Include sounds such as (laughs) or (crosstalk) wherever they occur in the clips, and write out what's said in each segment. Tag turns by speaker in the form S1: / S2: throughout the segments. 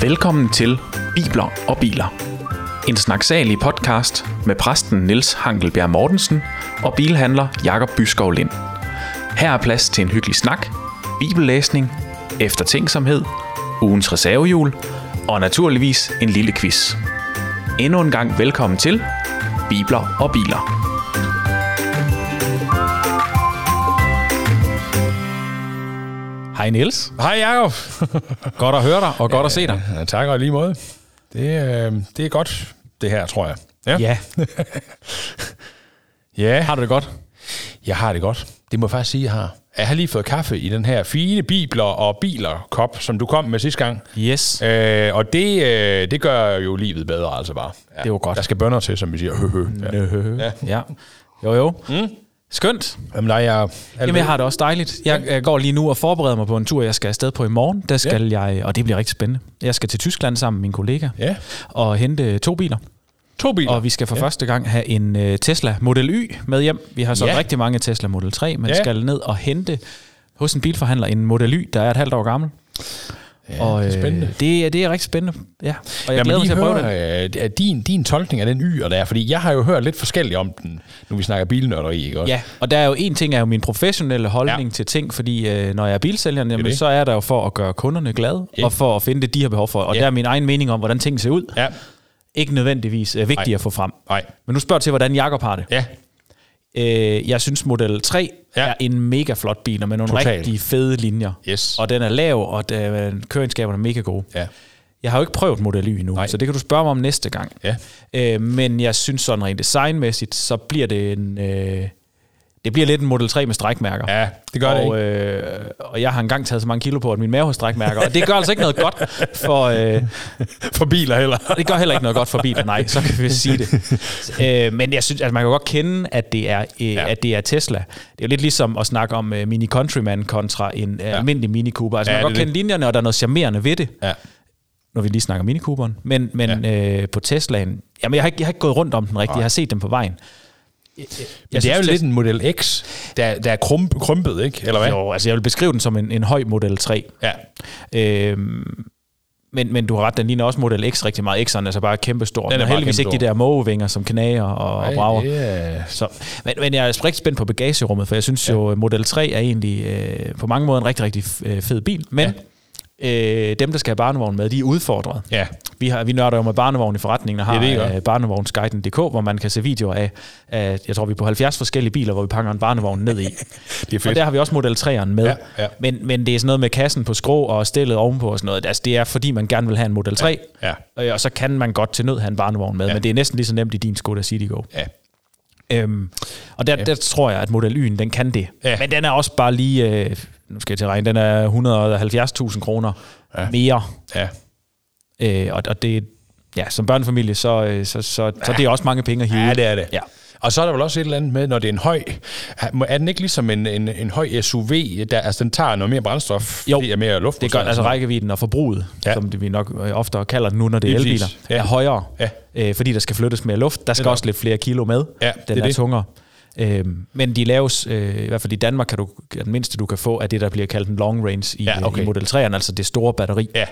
S1: Velkommen til Bibler og Biler. En snaksalig podcast med præsten Niels Hankelbjerg Mortensen og bilhandler Jakob Byskov Lind. Her er plads til en hyggelig snak, bibellæsning, eftertænksomhed, ugens reservehjul og naturligvis en lille quiz. Endnu en gang velkommen til Bibler og Biler. Hej Niels.
S2: Hej Jacob.
S1: Godt at høre dig og godt at se dig.
S2: Ja, tak og i lige måde. Det, øh, det er godt, det her, tror jeg. Ja.
S1: Ja,
S2: ja,
S1: har du det godt?
S2: jeg har det godt. Det må jeg faktisk sige, jeg har. Jeg har lige fået kaffe i den her fine bibler og biler-kop, som du kom med sidste gang.
S1: Yes.
S2: Øh, og det, øh, det gør jo livet bedre, altså bare. Ja.
S1: Det var godt.
S2: Der skal bønder til, som vi siger. (laughs) Høhø. Ja.
S1: Ja. ja. Jo, jo. Mm. Skønt.
S2: Jamen, nej, jeg,
S1: Jamen, jeg har det også dejligt. Jeg, jeg går lige nu og forbereder mig på en tur, jeg skal afsted på i morgen. Der skal jeg, og det bliver rigtig spændende. Jeg skal til Tyskland sammen med min kollega
S2: Ja.
S1: og hente to biler.
S2: to biler.
S1: Og vi skal for ja. første gang have en øh, Tesla Model Y med hjem. Vi har så ja.
S2: Ja.
S1: rigtig mange Tesla Model 3, men ja.
S2: Ja.
S1: skal ned og hente hos en bilforhandler en Model Y, der er et halvt år gammel. Ja, og, øh,
S2: det er spændende.
S1: Det, er- det er rigtig spændende, ja. Og jeg glæder
S2: Lad mig
S1: mig
S2: lige
S1: til at prøve det.
S2: høre øh, er din, din tolkning af den y, og der er, fordi jeg har jo hørt lidt forskelligt om den, nu vi snakker bilnørderi, ikke også?
S1: Ja, og der er jo en ting, er jo min professionelle holdning ja.
S2: Ja.
S1: til ting, fordi øh, når jeg er bilsælger, jamen,
S2: det.
S1: så er der jo for at gøre kunderne glade,
S2: Ja.
S1: og for at finde det, de har behov for. Og
S2: Ja.
S1: der er min egen mening om, hvordan ting ser ud,
S2: Ja.
S1: ikke nødvendigvis øh, vigtig
S2: Nej.
S1: at få frem.
S2: Nej.
S1: Men nu spørger til, hvordan Jakob har det.
S2: Ja.
S1: Øh, jeg synes, Model 3 ja.
S2: Ja.
S1: er en mega flot bil, og med nogle Total.
S2: Total.
S1: rigtig fede linjer.
S2: Yes.
S1: Og den er lav, og der, køreegenskaberne er mega gode.
S2: Ja.
S1: Jeg har jo ikke prøvet Model Y endnu, Nej.
S2: Nej.
S1: så det kan du spørge mig om næste gang.
S2: Ja.
S1: Øh, men jeg synes sådan rent designmæssigt, så bliver det en... Øh, det bliver lidt en Model 3 med strækmærker.
S2: Ja, det gør det,
S1: og, øh, og jeg har engang taget så mange kilo på, at min mave har strækmærker. Og det gør altså ikke noget godt for... Øh,
S2: For biler heller.
S1: det gør heller ikke noget godt for biler, nej, så kan vi sige det. Øh, men jeg synes, at man kan godt kende, at det er, øh, ja.
S2: Ja.
S1: at det er Tesla. Det er jo lidt ligesom at snakke om øh, Mini Countryman kontra en øh, almindelig Mini Cooper. Altså, ja,
S2: Ja,
S1: man kan godt
S2: det er
S1: kende linjerne, og der er noget charmerende ved det,
S2: Ja.
S1: når vi lige snakker Mini Cooperen. Men, men ja. øh, på Teslaen, jamen, jeg har, ikke, jeg har ikke gået rundt om den rigtigt. Jeg har set dem på vejen. Jeg,
S2: Jeg det er jo lidt en Model X, der, der er krum, krympet, ikke? Eller hvad?
S1: Jo, altså jeg vil beskrive den som en, en høj Model 3.
S2: Ja.
S1: Øhm, men, men du har ret, den ligner også Model X rigtig meget. X'eren er så bare kæmpestor. Den
S2: Den
S1: er
S2: er
S1: og
S2: bare
S1: heldigvis ikke de
S2: kæmpestor.
S1: der mågevinger, som knager og, og brager.
S2: Yeah.
S1: Så, men, men jeg er rigtig spændt på bagagerummet, for jeg synes ja. jo, at Model 3 er egentlig øh, på mange måder en rigtig, rigtig f- øh, fed bil. Men ja. øh, dem, der skal have barnevogn med, de er udfordret.
S2: Ja.
S1: Vi, har, vi nørder jo med barnevogn i forretningen og
S2: Ja,
S1: har
S2: det gør
S1: ja,
S2: vi.
S1: øh, barnevognsguiden.dk, hvor man kan se videoer af, af, jeg tror vi er på 70 forskellige biler, hvor vi pakker en barnevogn ned i.
S2: (laughs) Det er
S1: Og
S2: fedt.
S1: der har vi også Model 3'eren med.
S2: Ja, ja.
S1: Men, men det er sådan noget med kassen på skrå og stillet ovenpå og sådan noget. Altså, det er fordi, man gerne vil have en Model 3,
S2: Ja,
S1: Øh, og så kan man godt til nød have en barnevogn med, ja. men det er næsten lige så nemt i din Skoda Citigo.
S2: ja.
S1: Øhm, og der, ja. der tror jeg, at Model Y'en, den kan det. Ja.
S2: Ja.
S1: Men den er også bare lige, øh, nu skal jeg til at regne, den er 170.000 kroner ja. mere.
S2: ja.
S1: Øh, og, og det, ja, som børnefamilie, så, øh, så, så, så det er også mange penge at hive.
S2: Ja, det er det.
S1: Ja.
S2: Og så er der vel også et eller andet med, når det er en høj... Er den ikke ligesom en, en, en høj SUV, der, altså den tager noget mere brændstof,
S1: Jo,
S2: fordi der er mere luft?
S1: Det gør, altså rækkevidden og forbruget, ja.
S2: Ja.
S1: som det vi nok øh, oftere kalder det nu, når det er
S2: Lige
S1: elbiler,
S2: præcis.
S1: ja.
S2: Ja.
S1: er højere, ja.
S2: Ja.
S1: øh, fordi der skal flyttes mere luft. Der skal også lidt flere kilo med.
S2: Ja,
S1: Den
S2: det er
S1: er
S2: det.
S1: tungere. Øhm, men de laves, øh, i hvert fald i Danmark, kan du, den mindste du kan få, er det, der bliver kaldt en long range i,
S2: Ja,
S1: ja, okay.
S2: okay.
S1: i Model 3'eren, altså det store batteri.
S2: Ja.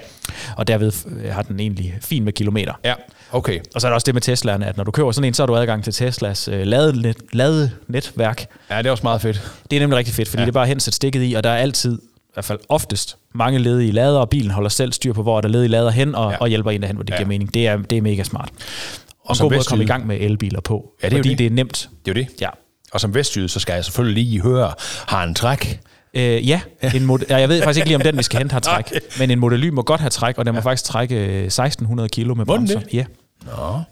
S1: Og derved øh, har den egentlig fin med kilometer.
S2: Ja, okay.
S1: Og så er der også det med Teslaerne, at når du køber sådan en, så har du adgang til Teslas øh, ladenet, ladenetværk.
S2: Ja, det er også meget fedt.
S1: Det er nemlig rigtig fedt, fordi ja. det er bare hen sæt stikket i, og der er altid, i hvert fald oftest, mange ledige lader, og bilen holder selv styr på, hvor der er ledige lader hen, og, ja.
S2: Ja.
S1: og hjælper en derhen, hvor det ja.
S2: Ja.
S1: giver mening. Det er, det er mega smart. Og en
S2: som
S1: god måde at
S2: vestjyde-
S1: komme i gang med elbiler på, ja,
S2: det
S1: det
S2: er jo
S1: fordi det.
S2: det.
S1: det er nemt.
S2: Det er jo det.
S1: Ja.
S2: Og som vestjyde, så skal jeg selvfølgelig lige høre, har en træk?
S1: Øh, ja, en mod- ja, jeg ved faktisk ikke lige, om den, vi skal hente, (laughs) har træk. Men en Model Y må godt have træk, og den må ja. faktisk trække øh, 1600 kilo med
S2: Må den
S1: bremser.
S2: det?
S1: Ja.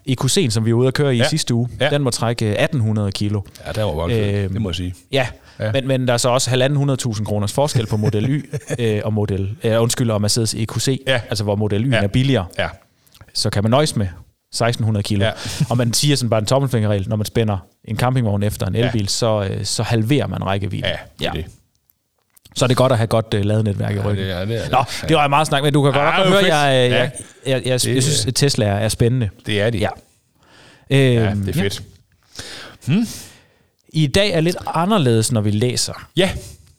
S1: I Q1, som vi var ude at køre i ja.
S2: Ja.
S1: sidste uge, ja.
S2: Ja.
S1: den må trække øh, 1800 kilo.
S2: Ja, det var godt
S1: Øhm.
S2: øhm. det må jeg sige.
S1: Ja, ja.
S2: Ja.
S1: Men, men der er så også 1.500.000 kroners forskel på Model Y
S2: (laughs)
S1: øh, og Model, øh, undskyld, og Mercedes EQC, ja.
S2: Ja.
S1: altså hvor Model Y'en ja.
S2: Ja.
S1: er billigere,
S2: Ja,
S1: så kan man nøjes med 1.600 kilo. Ja.
S2: Ja.
S1: og man siger sådan bare en tommelfingerregel, når man spænder en campingvogn efter en elbil, ja. så, øh, så halverer man rækkevidden.
S2: ja, det er det.
S1: Så er det godt at have godt øh, ladenetværk i ryggen.
S2: det er det, er det.
S1: Nå, det var meget snak, men du kan godt
S2: Ah,
S1: nok
S2: det var
S1: høre, jeg,
S2: fedt.
S1: øh,
S2: Ja.
S1: jeg, jeg, jeg, jeg, jeg synes, at Tesla er spændende.
S2: Det er det.
S1: Ja. Øhm,
S2: Øhm, ja det er fedt.
S1: I dag er lidt anderledes, når vi læser.
S2: Ja,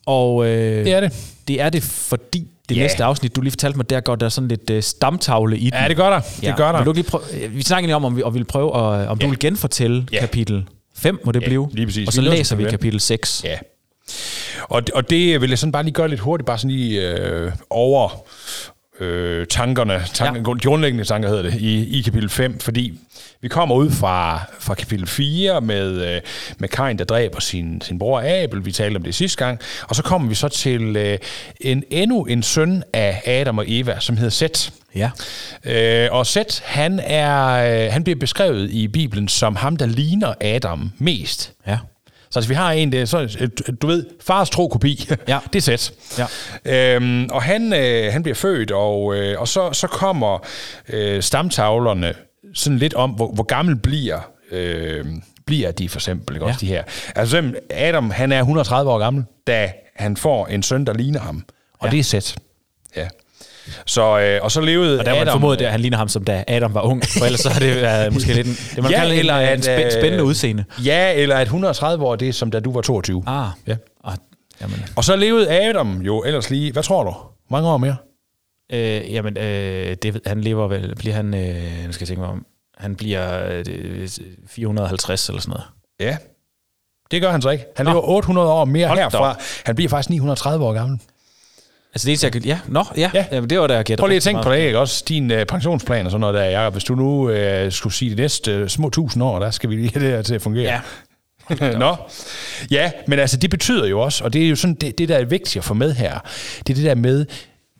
S1: Og øh,
S2: Det er det.
S1: det er det, fordi det
S2: Ja.
S1: yeah. næste afsnit, du lige fortalte mig, der går der sådan lidt øh, stamtavle i den.
S2: Ja, det gør der. Ja. Det gør der.
S1: Vil du ikke lige prøve, øh, vi snakker lige om, om vi, og ville prøve, at, om
S2: Ja.
S1: du vil genfortælle
S2: Ja.
S1: kapitel 5, må det blive.
S2: lige præcis.
S1: Og så
S2: Vi læser
S1: læser vi
S2: kapitel fem.
S1: kapitel 6.
S2: Ja. Og, og det vil jeg sådan bare lige gøre lidt hurtigt, bare sådan lige øh, over øh, tankerne, tank, ja. de grundlæggende tanker hedder det, i, i kapitel 5, fordi vi kommer ud fra, fra kapitel 4 med, øh, med Kain, der dræber sin, sin bror Abel, vi talte om det sidste gang, og så kommer vi så til øh, en, endnu en søn af Adam og Eva, som hedder Seth.
S1: Ja.
S2: Øh, og Seth, han, er, øh, han bliver beskrevet i Bibelen som ham, der ligner Adam mest.
S1: Ja.
S2: Så altså, vi har en, det er sådan, et- du ved, fars tro kopi.
S1: Ja.
S2: (laughs) det er sæt.
S1: Ja.
S2: Øhm, og han, øh, han bliver født, og, øh, og så, så kommer øh, stamtavlerne sådan lidt om, hvor, hvor gammel bliver, øh, bliver de for eksempel, ikke? også de her. Altså for eksempel, Adam, han er 130 år gammel, da han får en søn, der ligner ham. Og ja. det er sæt. Ja. Så, øh, og så levede
S1: Og der var
S2: Adam...
S1: det formodet, at han ligner ham, som da Adam var ung. For ellers så har det været måske lidt en, det man ja, kalder eller en spæ-
S2: øh,
S1: spændende udseende.
S2: Ja, eller at 130 år, det er som da du var 22.
S1: Ah,
S2: Ja.
S1: Og, jamen,
S2: Og så levede Adam jo ellers lige, hvad tror du? Hvor Mange år mere?
S1: øh, jamen øh, det, ved- han lever vel, bliver han, øh, nu skal jeg tænke mig om, han bliver øh, 450 eller sådan noget.
S2: Ja. Det gør han så ikke. Han lever 800 år mere
S1: Hold
S2: Hold
S1: da
S2: herfra. Han bliver faktisk 930 år gammel.
S1: Altså det eneste, jeg kan... Ja, nå, ja.
S2: Ja.
S1: ja. Jamen, det var da jeg gætter.
S2: Prøv lige at
S1: rigtig
S2: tænke
S1: meget.
S2: på det, ikke? Også din øh, pensionsplan og sådan noget der, Jacob. Hvis du nu øh, skulle sige de næste øh, små tusind år, der skal vi lige have det her til at fungere.
S1: Ja.
S2: (laughs) Nå. Ja, men altså det betyder jo også, og det er jo sådan, det, det der er vigtigt at få med her, det er det der med,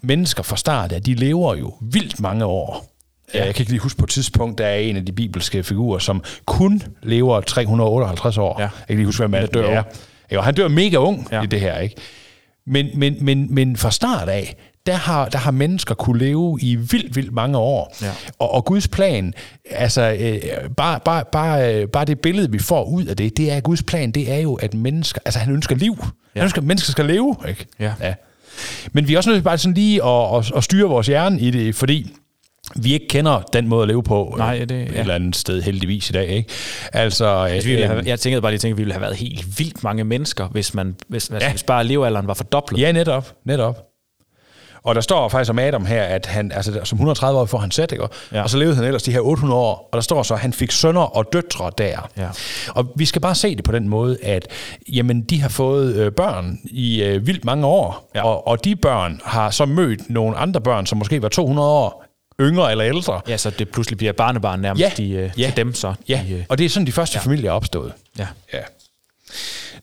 S2: mennesker fra start af, de lever jo vildt mange år. Ja. Jeg kan ikke lige huske på et tidspunkt, der er en af de bibelske figurer, som kun lever 358 år.
S1: Ja.
S2: Jeg kan lige huske, hvem han
S1: dør
S2: er.
S1: ung.
S2: Jo, han dør mega ung ja.
S1: Ja.
S2: i det her, ikke? Men, men, men, men fra start af, der har, der har mennesker kunne leve i vildt, vildt mange år.
S1: Ja.
S2: Og, og Guds plan, altså øh, bare, bare, bare, øh, bare det billede, vi får ud af det, det er Guds plan, det er jo, at mennesker, altså han ønsker liv. Ja. Han ønsker, at mennesker skal leve, ikke?
S1: Ja.
S2: ja. Men vi er også nødt til bare sådan lige at, at, at styre vores hjerne i det, fordi vi ikke kender den måde at leve på øh,
S1: Nej, det- ja.
S2: et eller andet sted heldigvis i dag, ikke? Altså,
S1: Altså, vi ville
S2: øh,
S1: have, jeg tænkte bare lige, tænkte, at vi ville have været helt vildt mange mennesker, hvis, man, hvis, ja. altså, hvis bare levealderen var fordoblet.
S2: Ja, netop, netop. Og der står faktisk om Adam her, at han, altså, som 130 år får han sæt, ikke? Ja.
S1: Ja.
S2: og så levede han ellers de her 800 år, og der står så, at han fik sønner og døtre der.
S1: Ja.
S2: Og vi skal bare se det på den måde, at jamen, de har fået øh, børn i øh, vildt mange år, ja.
S1: Ja.
S2: og, og de børn har så mødt nogle andre børn, som måske var 200 år yngre eller ældre.
S1: ja, så det pludselig bliver barnebarn nærmest ja.
S2: Ja.
S1: de, øh,
S2: Ja.
S1: ja. til dem så.
S2: Ja,
S1: De, øh,
S2: og det er sådan, de første ja. familier er opstået.
S1: ja.
S2: Ja.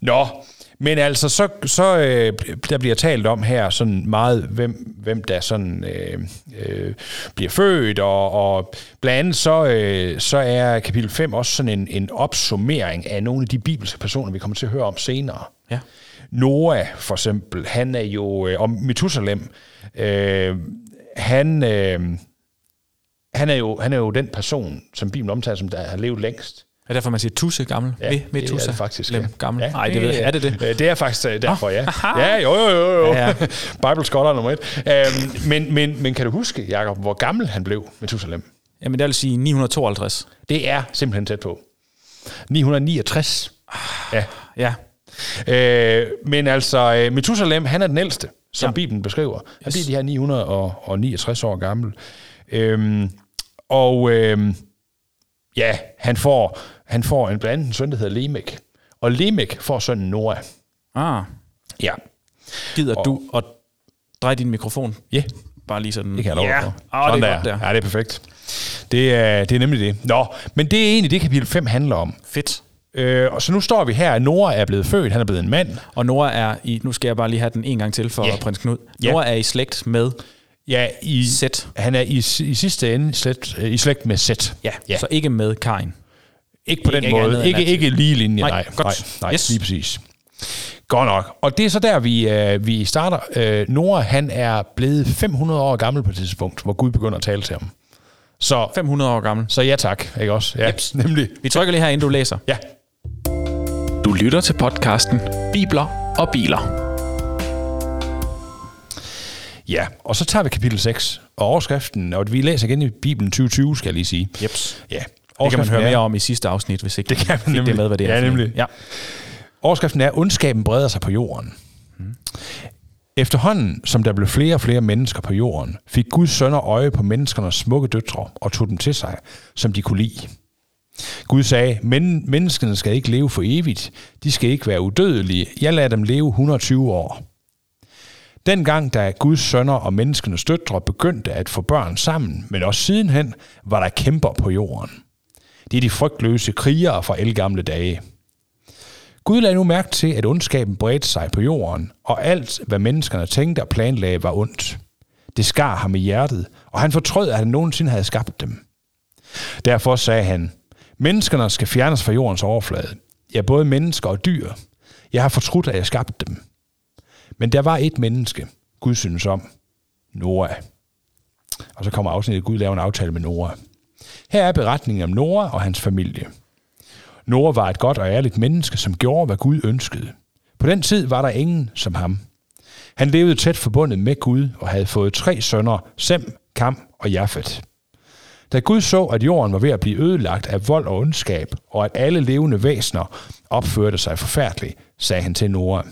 S2: Nå, men altså, så, så øh, der bliver talt om her sådan meget, hvem, hvem der sådan øh, øh, bliver født, og, og blandt andet så, øh, så er kapitel 5 også sådan en, en opsummering af nogle af de bibelske personer, vi kommer til at høre om senere.
S1: ja.
S2: Noah for eksempel, han er jo, øh, om Methusalem, øh, han, øh, han, er jo, han er jo den person, som Bibelen omtaler, som der har levet længst.
S1: Er derfor, man siger tusse gammel? Ja, med, med
S2: det er det faktisk.
S1: Lem,
S2: ja.
S1: gammel?
S2: Ja,
S1: Nej, det, ved jeg. Er det det?
S2: øh, Det er faktisk øh, derfor, ja.
S1: aha.
S2: Ja, jo, jo, jo. jo.
S1: Ja,
S2: (laughs) Ja.
S1: ja.
S2: Bible scholar nummer et. Øhm, men, men, men kan du huske, Jacob, hvor gammel han blev med Tusalem?
S1: Jamen, det vil sige 952.
S2: Det er simpelthen tæt på. 969.
S1: Ah.
S2: Ja.
S1: Ja.
S2: Øh, men altså, øh, Methusalem, han er den ældste, som ja.
S1: Ja.
S2: Bibelen beskriver. Han yes. bliver de her 969 år gammel. Øhm, og øhm, ja, han får, han får en blandt andet en søn, der hedder Lemek. Og Lemek får sønnen Noah.
S1: Ah.
S2: Ja.
S1: Gider og. du at dreje din mikrofon?
S2: Ja. Yeah.
S1: Bare lige sådan.
S2: Det kan jeg love
S1: ja.
S2: dig for.
S1: Åh, det er
S2: der.
S1: godt der.
S2: Ja, det er perfekt. Det er, det er nemlig det. Nå, men det er egentlig det, kapitel 5 handler om.
S1: Fedt.
S2: Øh, og så nu står vi her, at Nora er blevet født, han er blevet en mand.
S1: Og Nora er i, nu skal jeg bare lige have den en gang til for
S2: Ja.
S1: yeah. prins Knud.
S2: Ja.
S1: Nora er i slægt med
S2: Ja, i,
S1: Sæt.
S2: han er i, i sidste ende slet, øh, i slægt med Sæt. ja.
S1: Så
S2: Så
S1: ikke med Karin.
S2: ikke på den
S1: ikke andet
S2: måde.
S1: end
S2: Ikke,
S1: at-
S2: ikke lige linje, nej.
S1: Nej,
S2: Nej,
S1: godt.
S2: nej, nej
S1: Yes.
S2: lige præcis. Godt nok. Og det er så der, vi, øh, vi starter. Øh, Nora, han er blevet 500 år gammel på et tidspunkt, hvor Gud begynder at tale til ham. Så,
S1: 500 år gammel.
S2: så ja tak, ikke også? Ja,
S1: Jeps.
S2: nemlig.
S1: Vi trykker lige her, inden du læser.
S2: Ja,
S3: Du lytter til podcasten Bibler og biler.
S2: Ja, og så tager vi kapitel 6 og overskriften, og vi læser igen i Bibelen 2020, skal jeg lige sige.
S1: Jeps.
S2: Ja.
S1: Det kan man
S2: Overskriften
S1: høre
S2: er,
S1: mere om i sidste afsnit, hvis ikke
S2: Det kan man
S1: fik
S2: nemlig.
S1: det med, hvad det er.
S2: Ja,
S1: for noget.
S2: nemlig.
S1: Ja.
S2: Overskriften er, ondskaben breder sig på jorden. Efterhånden, som der blev flere og flere mennesker på jorden, fik Guds sønner øje på menneskernes smukke døtre og tog dem til sig, som de kunne lide. Gud sagde, men menneskene skal ikke leve for evigt. De skal ikke være udødelige. Jeg lader dem leve 120 år. Dengang, da Guds sønner og menneskenes døtre begyndte at få børn sammen, men også sidenhen, var der kæmper på jorden. Det er de frygtløse krigere fra elgamle dage. Gud lagde nu mærke til, at ondskaben bredte sig på jorden, og alt, hvad menneskerne tænkte og planlagde, var ondt. Det skar ham i hjertet, og han fortrød, at han nogensinde havde skabt dem. Derfor sagde han, menneskerne skal fjernes fra jordens overflade. Ja, både mennesker og dyr. Jeg har fortrudt, at jeg skabte dem. Men der var et menneske, Gud synes om, Noah. Og så kommer afsnittet, Gud laver en aftale med Noah. Her er beretningen om Noah og hans familie. Noah var et godt og ærligt menneske, som gjorde, hvad Gud ønskede. På den tid var der ingen som ham. Han levede tæt forbundet med Gud og havde fået tre sønner, Sem, Kam og Jafet. Da Gud så, at jorden var ved at blive ødelagt af vold og ondskab, og at alle levende væsener opførte sig forfærdeligt, sagde han til Noah.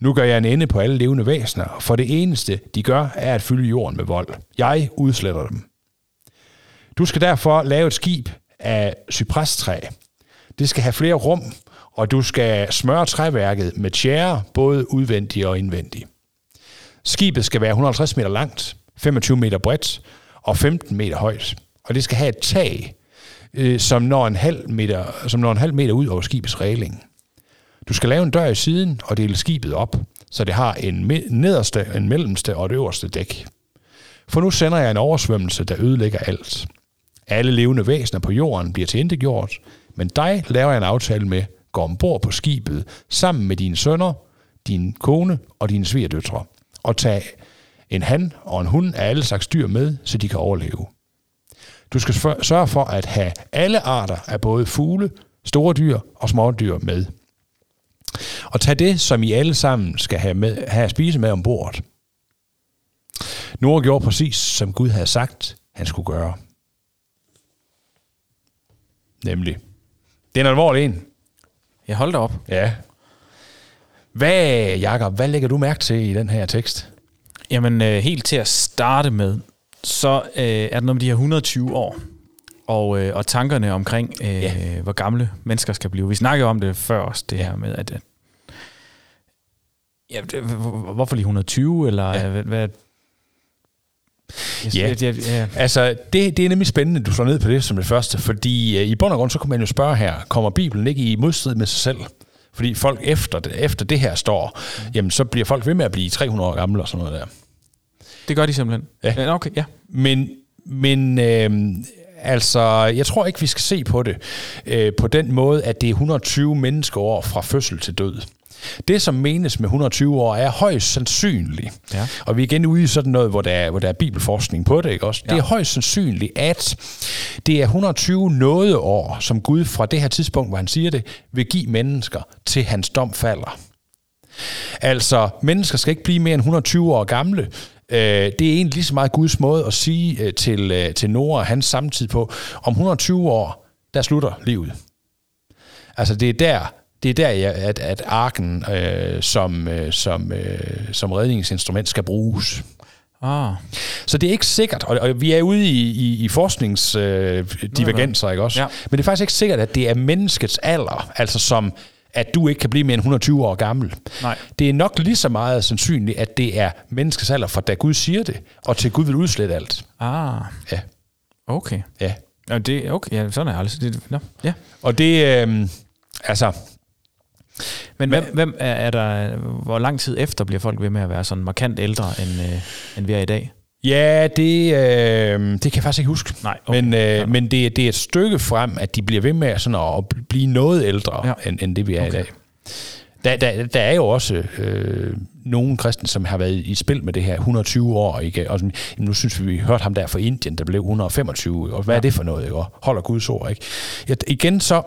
S2: Nu gør jeg en ende på alle levende væsener, for det eneste, de gør, er at fylde jorden med vold. Jeg udsletter dem. Du skal derfor lave et skib af cypresstræ. Det skal have flere rum, og du skal smøre træværket med tjære, både udvendige og indvendige. Skibet skal være 150 meter langt, 25 meter bredt og 15 meter højt. Og det skal have et tag, øh, som, når en halv meter, som når en halv meter ud over skibets regling. Du skal lave en dør i siden og dele skibet op, så det har en me- nederste, en mellemste og et øverste dæk. For nu sender jeg en oversvømmelse, der ødelægger alt. Alle levende væsener på jorden bliver tilintetgjort, men dig laver jeg en aftale med, går ombord på skibet sammen med dine sønner, din kone og dine svigerdøtre, og tag en han og en hund af alle slags dyr med, så de kan overleve. Du skal sfor- sørge for at have alle arter af både fugle, store dyr og små dyr med. Og tag det, som I alle sammen skal have, med, have at spise med ombord. Noah gjorde præcis, som Gud havde sagt, han skulle gøre. Nemlig. Det er en alvorlig en.
S1: Jeg holdt op.
S2: Ja. Hvad, Jakob, hvad lægger du mærke til i den her tekst?
S1: Jamen, øh, helt til at starte med, så øh, er det noget med de her 120 år, og, øh, og tankerne omkring, øh, yeah. hvor gamle mennesker skal blive. Vi snakkede jo om det før også, det her med, at øh, ja, det- hvor- hvorfor lige 120, eller
S2: Ja.
S1: ja. hvad... hvad jeg,
S2: Ja.
S1: jeg, jeg, jeg,
S2: Altså, det, det er nemlig spændende, at du slår ned på det som det første, fordi øh, i bund og grund, så kunne man jo spørge her, kommer Bibelen ikke i modstrid med sig selv? Fordi folk efter det, efter det her står, jamen så bliver folk ved med at blive 300 år gamle og sådan noget der.
S1: det gør de simpelthen.
S2: Ja.
S1: Ja. Okay, ja.
S2: Men, men øh, altså, jeg tror ikke, vi skal se på det øh, på den måde, at det er 120 menneskeår fra fødsel til død. Det, som menes med 120 år, er højst sandsynligt.
S1: Ja.
S2: Og vi er igen ude i sådan noget, hvor der er, hvor der er bibelforskning på det, ikke også? Ja. Det er højst sandsynligt, at det er 120 nådeår, som Gud fra det her tidspunkt, hvor han siger det, vil give mennesker til hans dom falder. Altså, mennesker skal ikke blive mere end 120 år gamle. Øh, det er egentlig lige så meget Guds måde at sige øh, til, øh, til Nora og hans samtid på, om 120 år, der slutter livet. Altså, det er der, det er der ja, at, at arken øh, som, øh, som, øh, som redningsinstrument skal bruges.
S1: Ah,
S2: Så det er ikke sikkert, og, og vi er ude i, i, i forskningsdivergenser, øh, divergenser, ikke også?
S1: Ja.
S2: Men det er faktisk ikke sikkert, at det er menneskets alder, altså som at du ikke kan blive mere end 120 år gammel.
S1: Nej.
S2: Det er nok lige så meget sandsynligt, at det er menneskets alder, fra da Gud siger det, og til Gud vil udslette alt.
S1: ah,
S2: Ja,
S1: okay.
S2: ja.
S1: Ja, det, okay, ja, sådan er jeg aldrig. Det, no, ja.
S2: Og det, øh, altså,
S1: Men hvem, hvem er, er der, hvor lang tid efter bliver folk ved med at være sådan markant ældre, end, øh, end vi er i dag?
S2: ja, det, øh, det kan jeg faktisk ikke huske.
S1: Nej, okay.
S2: Men, øh, men det, er- det er et stykke frem, at de bliver ved med sådan at, at blive noget ældre, ja.
S1: Ja.
S2: end, end det vi er okay. i dag. Der, der, der er jo også øh, nogle kristne, som har været i spil med det her 120 år. Ikke? Og sådan, jamen, nu synes vi, vi hørte ham der fra Indien, der blev 125. ikke? Og hvad ja. er det for noget? Ikke? Og holder Guds ord? Ikke? Ja, igen så,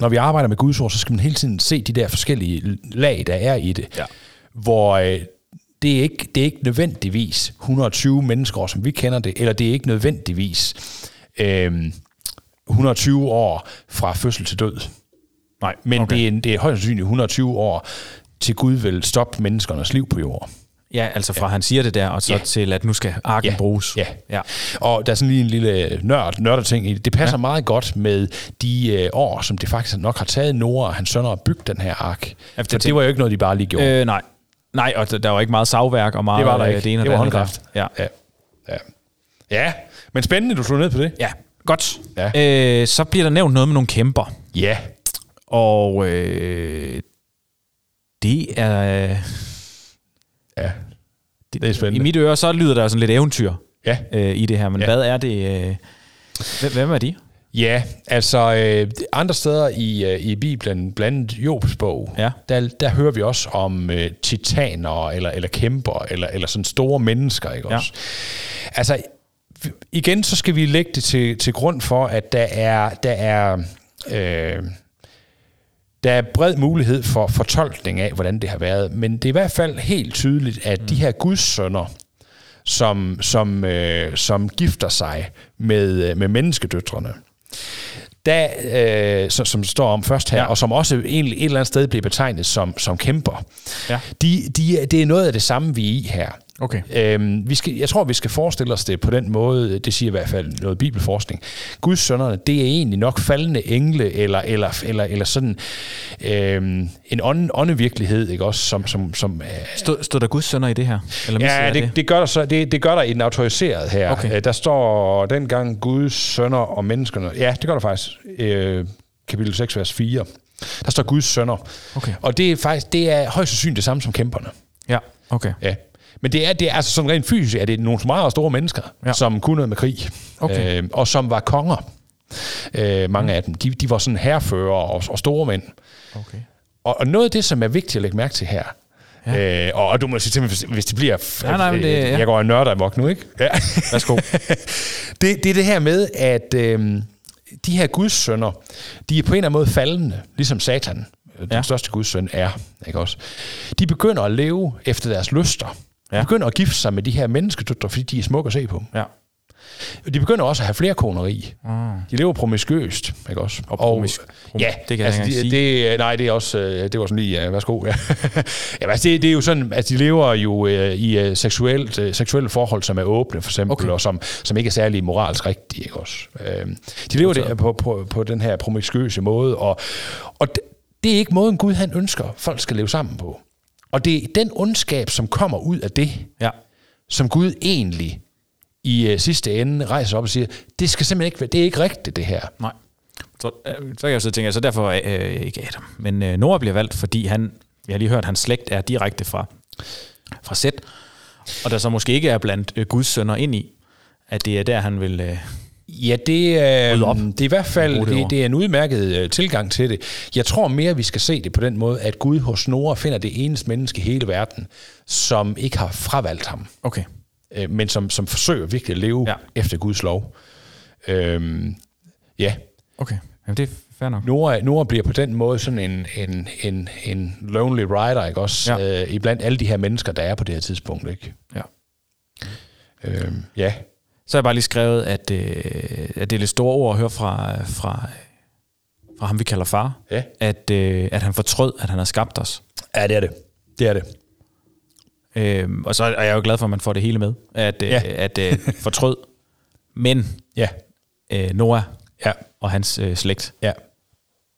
S2: når vi arbejder med Guds ord, så skal man hele tiden se de der forskellige lag, der er i det.
S1: Ja.
S2: Hvor øh, det, er ikke, det er ikke nødvendigvis 120 mennesker, som vi kender det, eller det er ikke nødvendigvis øh, 120 år fra fødsel til død.
S1: Nej,
S2: Men okay. det, er, en- det er højst sandsynligt 120 år til Gud vil stoppe menneskernes liv på jorden.
S1: Ja, altså fra ja. han siger det der, og så
S2: Ja.
S1: ja. til, at nu skal arken
S2: Ja.
S1: bruges.
S2: Ja.
S1: ja.
S2: Og der er sådan lige en lille nørd, nørderting i det. Det passer ja. meget godt med de øh, år, som det faktisk nok har taget Nora og hans sønner at bygge den her ark. Ja,
S1: det
S2: for det var jo ikke noget, de bare lige gjorde.
S1: Øh, nej. Nej, og der, der var ikke meget savværk og meget
S2: det var der
S1: øh,
S2: ikke.
S1: det ene og
S2: det var
S1: andet der.
S2: håndkraft.
S1: Ja.
S2: ja. Ja. Ja, men spændende, du slog ned på det.
S1: ja, godt.
S2: Ja.
S1: Øh, så bliver der nævnt noget med nogle kæmper.
S2: Ja.
S1: Og øh, det er...
S2: Ja.
S1: Det,
S2: er spændende.
S1: I mit øre, så lyder der jo sådan lidt eventyr
S2: Ja.
S1: øh, i det her. Men
S2: Ja.
S1: ja. hvad er det... Øh, hvem- hvem er de?
S2: Ja, altså øh, andre steder i, øh, i Bibelen, blandt andet Jobs bog,
S1: Ja.
S2: der, der hører vi også om øh, titaner, eller, eller kæmper, eller, eller sådan store mennesker, ikke
S1: Ja.
S2: også? Altså, igen så skal vi lægge det til, til grund for, at der er, der er, øh, der er bred mulighed for fortolkning af, hvordan det har været. Men det er i hvert fald helt tydeligt, at mm. de her gudssønner, som, som, øh, som gifter sig med, øh, med menneskedøtrene, der, øh, som, som står om først her, ja.
S1: Ja.
S2: og som også egentlig et eller andet sted bliver betegnet som, som kæmper.
S1: Ja.
S2: De, de, er- det er noget af det samme, vi er i her.
S1: Okay.
S2: Øhm, vi skal, jeg tror, vi skal forestille os det på den måde, det siger i hvert fald noget bibelforskning. Guds sønnerne, det er egentlig nok faldende engle, eller, eller, eller, eller sådan øhm, en ånd, åndevirkelighed, ikke også, som, som, som øh,
S1: Stod, stod der Guds sønner i det her? Eller mistede
S2: Ja,
S1: jeg
S2: det, det, gør der så, det, det gør der i den autoriserede her.
S1: Okay.
S2: Øh, Der står dengang Guds sønner og menneskerne. Ja, det gør der faktisk. Øh, kapitel 6, vers 4. Der står Guds sønner.
S1: Okay.
S2: Og det er faktisk det er højst sandsynligt det samme som kæmperne.
S1: Ja, okay.
S2: Ja. Men det er, det er altså sådan rent fysisk, at det er nogle meget store mennesker, ja.
S1: Ja.
S2: som kunne noget med krig,
S1: Okay. Mm.
S2: øh, og som var konger. Øh, mange af dem. De, de var sådan herrefører og, og store mænd.
S1: okay.
S2: Og, og noget af det, som er vigtigt at lægge mærke til her, ja. øh, og, og du må sige til mig, hvis, hvis det bliver... øh,
S1: Nej, nej, men det- ja.
S2: Jeg går og nørder amok nu, ikke? Ja.
S1: (laughs) Værsgo.
S2: (laughs) det, det er det her med, at øh, de her gudssønner, de er på en eller anden måde faldende, ligesom satan, øh, den ja.
S1: Ja.
S2: største gudssøn, er. Ikke også? De begynder at leve efter deres lyster. Ja. De
S1: Ja.
S2: begynder at gifte sig med de her menneskedøtre, fordi de er smukke at se på.
S1: ja.
S2: Og De begynder også at have flere koneri. Mm. De lever promiskøst, ikke også? Og,
S1: Ah. promis- prom-
S2: ja,
S1: det kan jeg
S2: altså,
S1: ikke
S2: det,
S1: engang
S2: det, Nej, det er også... øh, Det var sådan lige... Ja, værsgo. Ja. (laughs) Jamen, altså, det, det er jo sådan, at de lever jo øh, i øh, seksuelt, øh, seksuelle forhold, som er åbne, for eksempel, okay.
S1: Okay.
S2: og som, som ikke er særlig moralsk rigtige, ikke også? Øh, de lever
S1: Altså-
S2: det, på, på, på den her promiskøse måde, og, og det, det er ikke måden, Gud han ønsker, folk skal leve sammen på. Og det er den ondskab, som kommer ud af det,
S1: Ja.
S2: som Gud egentlig i øh, sidste ende rejser op og siger, det skal simpelthen ikke være, det er ikke rigtigt det her.
S1: Nej. Så, øh, så kan jeg så tænke, så derfor øh, ikke Adam, men øh, Nora bliver valgt, fordi han, jeg har lige hørt, hans slægt er direkte fra, fra Sæt, og der så måske ikke er blandt øh, Guds sønner ind i, at det er der, han vil... Øh,
S2: Ja, det, øh,
S1: Rydde op.
S2: det er i hvert fald
S1: Brug det
S2: det,
S1: ord.
S2: det er en udmærket øh, tilgang til det. Jeg tror mere, vi skal se det på den måde, at Gud hos Nora finder det eneste menneske i hele verden, som ikke har fravalgt ham,
S1: okay.
S2: øh, men som, som forsøger virkelig at leve ja.
S1: Ja.
S2: efter Guds lov. Øhm, ja,
S1: Okay. Jamen, det er fair nok.
S2: Nora, Nora bliver på den måde sådan en, en, en, en lonely rider, ikke også? Ja.
S1: Ja.
S2: Øh, iblandt alle de her mennesker, der er på det her tidspunkt, ikke?
S1: Ja.
S2: Øhm, ja.
S1: Så har jeg bare lige skrevet, at, øh, at det er lidt store ord at høre fra, øh, fra, fra ham, vi kalder far.
S2: Ja.
S1: At, øh, at han fortrød, at han har skabt os.
S2: Ja, det er det. Det er det.
S1: Øhm, og så er jeg jo glad for, at man får det hele med. At, øh,
S2: Ja.
S1: ja. at øh,
S2: (laughs)
S1: fortrød. Men
S2: Ja.
S1: øh, Noah
S2: Ja.
S1: og hans øh, slægt,
S2: Ja.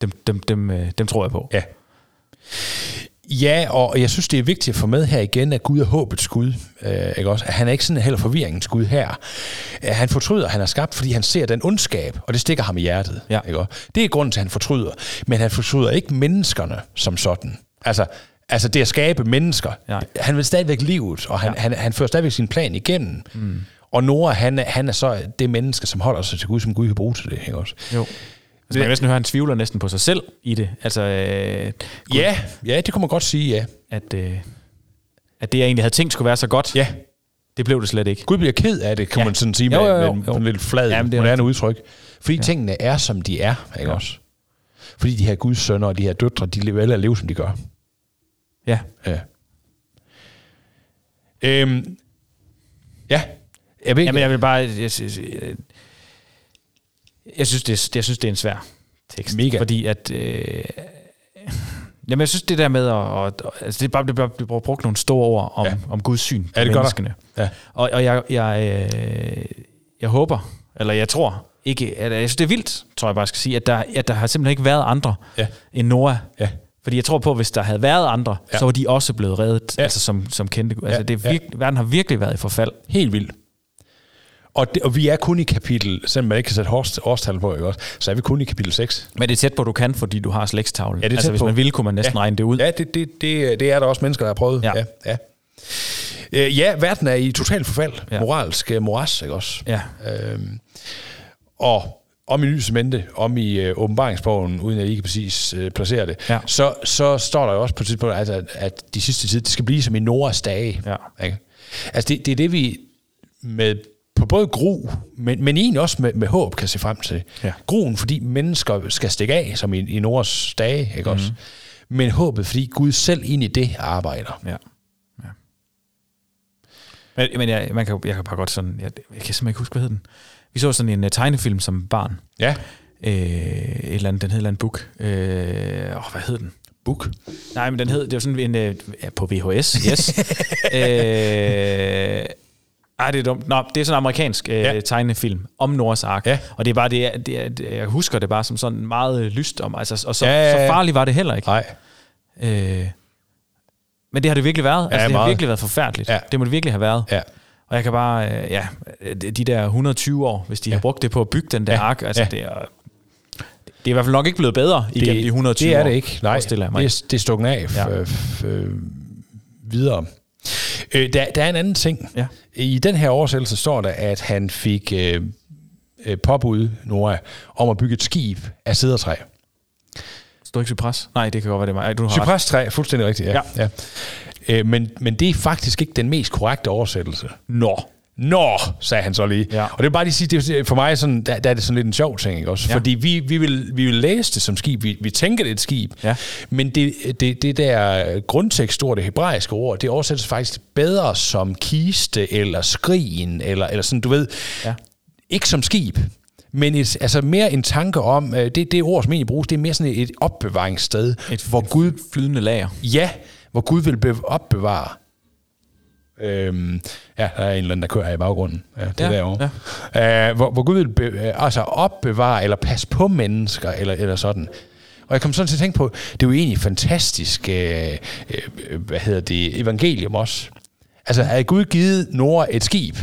S1: dem, dem, dem, øh, dem tror jeg på.
S2: Ja. Ja, og jeg synes, det er vigtigt at få med her igen, at Gud er håbets Gud. Øh, ikke også? Han er ikke sådan heller forvirringens Gud her. Øh, Han fortryder, han har skabt, fordi han ser den ondskab, og det stikker ham i hjertet.
S1: Ja.
S2: Ikke også? Det er grunden til, at han fortryder. Men han fortryder ikke menneskerne som sådan. Altså, altså det at skabe mennesker.
S1: Nej.
S2: Han vil stadigvæk livet, og han, ja. han, han fører stadigvæk sin plan igennem. Mm. Og Nora, han, er- han er så det menneske, som holder sig til Gud, som Gud kan bruge til det. Ikke også?
S1: Jo. Altså, man kan næsten høre, at han tvivler næsten på sig selv i det. Altså, øh, Gud,
S2: Ja, ja, det kunne man godt sige, ja.
S1: at, øh, at det, jeg egentlig havde tænkt skulle være så godt,
S2: Ja,
S1: det blev det slet ikke.
S2: Gud bliver ked af det, kan ja.
S1: Ja.
S2: man sådan sige, med,
S1: Jo, jo, jo,
S2: med,
S1: jo.
S2: med en lidt flad, ja,
S1: Jamen, det er
S2: moderne udtryk. Fordi ja. tingene er, som de er, ikke ja. også? Fordi de her Guds sønner og de her døtre, de lever alle at leve, som de gør.
S1: Ja.
S2: Ja. Øhm, ja. Jeg ved ikke,
S1: Jamen, jeg vil bare... Jeg synes, jeg, jeg, synes, det, er- jeg synes, det er en svær tekst.
S2: Mega.
S1: Fordi at... Øh, Jamen, jeg synes, det der med, at, at, altså, det er bare, det bliver, bliver brugt nogle store ord om,
S2: Ja.
S1: ja. om Guds syn
S2: Ja, det gør der.
S1: menneskene.
S2: Ja.
S1: Og, og jeg, jeg, øh, jeg håber, eller jeg tror ikke, at, jeg synes, det er vildt, tror jeg bare jeg skal sige, at der, at der har simpelthen ikke været andre
S2: Ja.
S1: end Noah.
S2: Ja.
S1: Fordi jeg tror på, at hvis der havde været andre,
S2: Ja.
S1: ja. så var de også blevet reddet, ja.
S2: Ja.
S1: altså som, som kendte Gud. Altså,
S2: Ja,
S1: det er
S2: ja.
S1: virke, verden har virkelig været i forfald.
S2: Helt vildt. Og, det, og vi er kun i kapitel, selvom man ikke kan sætte hårst- årstal på, ikke også, så er vi kun i kapitel 6.
S1: Men det er tæt på, du kan, fordi du har slægstavle.
S2: Ja, det er
S1: altså,
S2: tæt
S1: hvis
S2: på.
S1: man ville, kunne man næsten
S2: Ja.
S1: ja. regne det ud.
S2: Ja, det, det, det, det er der også mennesker, der har prøvet.
S1: Ja.
S2: ja. ja. Øh, ja verden er i total forfald. Ja.
S1: Ja.
S2: Moralsk øh, moras, ikke også?
S1: Ja.
S2: Øhm, og om i Nye Cemente, om i øh, åbenbaringsbogen, uden at I kan præcis øh, placere det,
S1: Ja.
S2: så, så står der jo også på et tidspunkt, altså, at, at de sidste tid, det skal blive som i Noras dage.
S1: Ja.
S2: Ikke? Altså det, det er det, vi med på både gru, men, men egentlig også med, med håb kan se frem til.
S1: Ja.
S2: Gruen, fordi mennesker skal stikke af, som i, i Noras dage, ikke også?
S1: Mhm.
S2: Men håbet, fordi Gud selv ind i det arbejder.
S1: Ja. ja. Men, men jeg, man kan, jo- jeg kan bare godt sådan... Jeg, jeg kan simpelthen ikke huske, hvad hed den. Vi så sådan en uh, tegnefilm som barn.
S2: Ja.
S1: Øh, et eller andet, den hed et eller andet book. Øh, åh, hvad hed den?
S2: Book.
S1: Nej, men den hed... Det var sådan en... Øh, ja, på VHS,
S2: (laughs)
S1: yes. øh, ej, det er dumt. Nå, det er sådan en amerikansk øh,
S2: Ja.
S1: ja. tegnefilm om Nords Ark.
S2: Ja.
S1: Og det er bare det, er- det, er, det, er- jeg husker det bare som sådan meget øh, lyst om. Altså, og så,
S2: Ja,
S1: ja,
S2: ja,
S1: ja,
S2: ja.
S1: så farligt var det heller ikke.
S2: Nej.
S1: Øh, men det har det virkelig været.
S2: Ja,
S1: altså, det har
S2: meget.
S1: virkelig været forfærdeligt.
S2: Ja.
S1: Det må det virkelig have været.
S2: Ja.
S1: Og jeg kan bare, øh, ja, øh, de der 120 år, hvis de ja. har brugt det på at bygge den der
S2: Ja.
S1: ja. ark, altså
S2: Ja.
S1: ja. det er... Det er i hvert fald nok ikke blevet bedre igennem de 120 år.
S2: Det er det ikke. Nej, det
S1: forestiller
S2: er,
S1: jeg mig.
S2: det er stukken af ja.
S1: Ja.
S2: øh, videre. Øh, der, der er en anden ting.
S1: Ja.
S2: I den her oversættelse står der, at han fik øh, øh, påbud, Nora, om at bygge et skib af cedertræ.
S1: Står ikke cypres? Nej, det kan godt være det er mig. Ej, du har ret.
S2: Cyprestræ, fuldstændig rigtigt. Ja. ja. Øh, men, men det er faktisk ikke den mest korrekte oversættelse.
S1: Nå.
S2: Nå, sagde han så lige.
S1: Ja.
S2: Og det vil bare lige sige, det er for mig sådan, der, der er det sådan lidt en sjov ting, ikke også? Ja.
S1: Ja.
S2: Fordi vi, vi, vil, vi vil læse det som skib, vi, vi tænker det er et skib,
S1: Ja.
S2: men det, det, det der grundtekstord, det hebraiske ord, det oversættes faktisk bedre som kiste, eller skrigen, eller, eller sådan, du ved,
S1: Ja.
S2: ikke som skib, men et, altså mere en tanke om, øh, det, det ord, som egentlig bruges, det er mere sådan et opbevaringssted,
S1: Et,
S2: hvor Gud
S1: flydende lager.
S2: Ja, hvor Gud vil be- opbevare. Øhm, ja, der er en eller anden, der kører her i baggrunden. Ja, det er
S1: Ja,
S2: derovre. Ja. Øh, hvor, hvor Gud vil be- øh, altså opbevare eller passe på mennesker, eller, eller sådan. Og jeg kom sådan til at tænke på, det er jo egentlig fantastisk, øh, øh, hvad hedder det, evangelium også. Altså, havde Gud givet Nora et skib,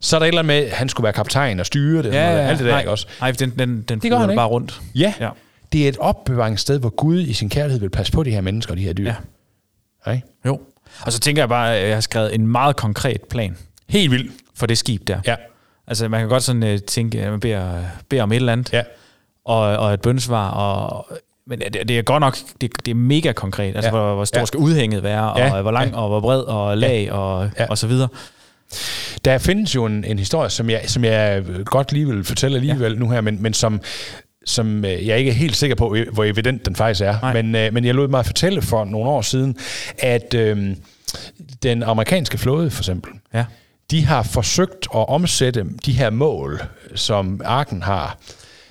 S2: så er der et eller andet med, at han skulle være kaptajn og styre det, ja, ja, ja. alt det der,
S1: nej,
S2: ikke også?
S1: Nej, den, den, den
S2: gør han
S1: flyder
S2: ikke.
S1: bare rundt.
S2: Ja. ja,
S1: Ja.
S2: det er et opbevaringssted, hvor Gud i sin kærlighed vil passe på de her mennesker og de her dyr.
S1: Ja.
S2: Ikke?
S1: Jo. Og så tænker jeg bare, at jeg har skrevet en meget konkret plan
S2: Helt vildt.
S1: for det skib der.
S2: Ja.
S1: Altså, man kan godt sådan øh, tænke, at man beder, beder om et eller andet.
S2: Ja.
S1: og, og et bønsvar. Og, men det, det er godt nok, det, det er mega konkret. Altså,
S2: Ja.
S1: ja. hvor, hvor stor
S2: Ja.
S1: ja. skal udhænget være, og
S2: Ja.
S1: ja. hvor lang,
S2: Ja.
S1: ja. og hvor bred, og lag, ja. og,
S2: Ja.
S1: ja. og så videre.
S2: Der findes jo en, en historie, som jeg, som jeg øh, godt lige vil fortælle alligevel ja. nu her, men, men som, som øh, jeg ikke er helt sikker på, øh, hvor evident den faktisk er.
S1: Nej.
S2: Men, øh, men jeg lod mig fortælle for nogle år siden, at øh, den amerikanske flåde for eksempel,
S1: Ja.
S2: de har forsøgt at omsætte de her mål, som Arken har,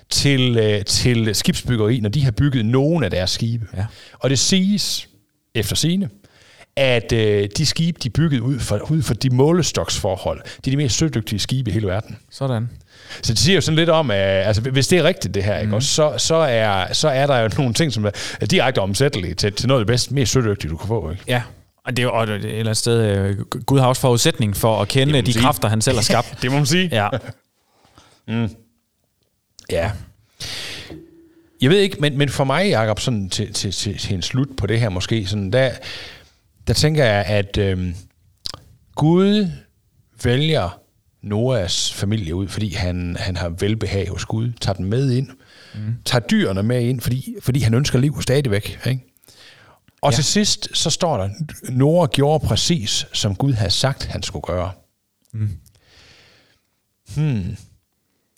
S2: til, øh, til skibsbyggeri, når de har bygget nogle af deres skibe.
S1: Ja.
S2: Og det siges, efter sigende, at øh, de skibe, de er bygget ud for, ud for de målestoksforhold, de er de mest sødygtige skibe i hele verden.
S1: Sådan.
S2: Så det siger jo sådan lidt om, at altså, hvis det er rigtigt det her, ikke, også, så, så, er, så er der jo nogle ting, som er er direkte omsættelige til, til noget af det bedste, mest sødygtige, du kan få. Ikke?
S1: Ja. Og det er jo og det er et eller andet sted, øh, Gud har også forudsætning for at kende de
S2: sige.
S1: kræfter, han selv har skabt.
S2: Det må man sige.
S1: ja.
S2: Ja. Jeg ved ikke, men, men for mig, Jacob, sådan til, til, til, til en slut på det her måske, sådan der, der tænker jeg, at øhm, Gud vælger Noahs familie ud, fordi han, han har velbehag hos Gud, tager den med ind, mm. tager dyrene med ind, fordi, fordi han ønsker liv stadigvæk. Ikke? Og ja. til sidst, så står der, Noah gjorde præcis, som Gud havde sagt, han skulle gøre. Mm. Hmm.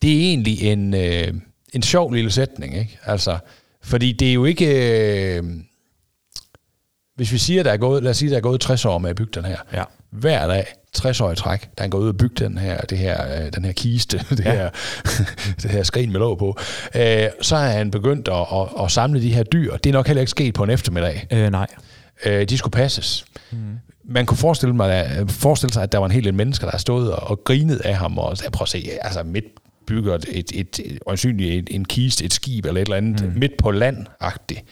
S2: det er egentlig en, øh, en sjov lille sætning, ikke? Altså, fordi det er jo ikke... Øh, hvis vi siger, der er gået, lad os sige, der er gået 60 år med at bygge den her.
S1: Ja.
S2: Hver dag 60 år i træk, da han går ud og bygger den her, det her, øh, den her kiste, (laughs) det, ja. her, det her skrin med låg på, øh, så har han begyndt at, at, at samle de her dyr. Det er nok heller ikke sket på en eftermiddag.
S1: Øh, nej.
S2: Øh, de skulle passes. Mm. Man kunne forestille, mig, forestille sig, at der var en hel del mennesker, der har stået og, og grinet af ham, og sagde, prøv at se, altså midt bygger et, et, et, et ansynligt et, en kiste, et skib eller et eller andet, mm. midt på land-agtigt.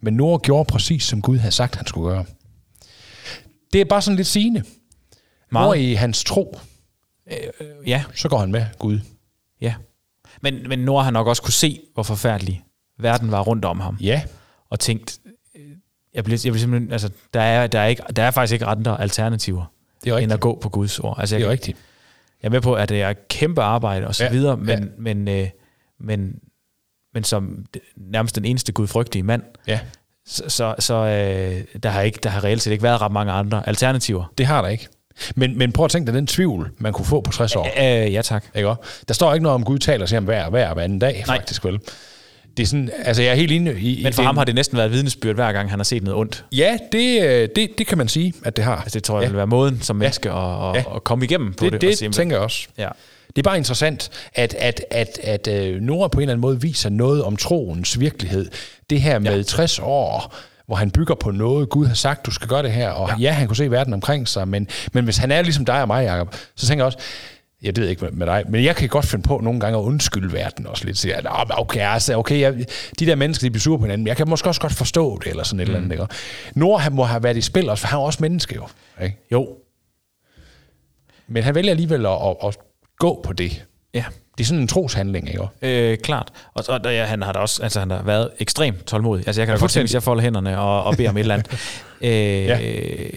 S2: Men Nora gjorde præcis, som Gud havde sagt, han skulle gøre. Det er bare sådan lidt sigende. Hvor
S1: Meget.
S2: i hans tro,
S1: Ja,
S2: så går han med Gud.
S1: ja. Men, men Nora har nok også kunne se, hvor forfærdelig verden var rundt om ham.
S2: Ja,
S1: og tænkt, øh, jeg bliver, jeg bliver simpelthen, altså, der er, der, er ikke, der er faktisk ikke andre alternativer,
S2: det er
S1: end at
S2: rigtigt.
S1: gå på Guds ord. Altså,
S2: Det er
S1: jeg,
S2: rigtigt.
S1: jeg er med på, at det er et kæmpe arbejde og så
S2: Ja,
S1: ja, videre,
S2: ja.
S1: men, ja. men, øh, men, men som d- nærmest den eneste gudfrygtige mand,
S2: Ja,
S1: så, så, så øh, der, har ikke, der har reelt set ikke været ret mange andre alternativer.
S2: det har der ikke. Men, men prøv at tænke dig den tvivl, man kunne få på 60 år.
S1: Øh, ja tak.
S2: Ikke også? Der står ikke noget om, Gud taler til ham hver, hver, hver anden dag,
S1: Nej.
S2: faktisk vel. Det er sådan, altså jeg er helt enig i...
S1: Men for
S2: i
S1: ham har det næsten været et vidnesbyrd, hver gang han har set noget ondt.
S2: Ja, det, øh, det, det kan man sige, at det har.
S1: Altså, det tror jeg
S2: Ja.
S1: ja. vil være måden som menneske at,
S2: Ja.
S1: at, at komme igennem på det.
S2: det,
S1: og
S2: det,
S1: se,
S2: det
S1: men-
S2: tænker jeg også.
S1: ja.
S2: Det er bare interessant, at, at, at, at øh, Nora på en eller anden måde viser noget om troens virkelighed. Det her med ja. 60 år, hvor han bygger på noget, Gud har sagt, du skal gøre det her, og ja, ja han kunne se verden omkring sig, men, men hvis han er ligesom dig og mig, Jacob, så tænker jeg også, jeg ved ikke med- med dig, men jeg kan godt finde på nogle gange at undskylde verden også lidt. Sige, "Nå, men okay, altså, okay jeg, de der mennesker, de bliver sure på hinanden, men jeg kan måske også godt forstå det, eller sådan et mm. eller andet. Ikke? Nora han må have været i spil også, for han er også menneske jo. Ikke?
S1: Jo.
S2: Men han vælger alligevel at, at, at gå på det.
S1: Ja.
S2: Det er sådan en troshandling, ikke?
S1: Øh, klart. Og, og der, ja, han har da også altså, han har været ekstremt tålmodig. Altså, jeg kan da godt se,
S2: fuldstændig.
S1: hvis jeg folder hænderne og, og beder om et eller (laughs) andet. Øh,
S2: Ja.
S1: ja.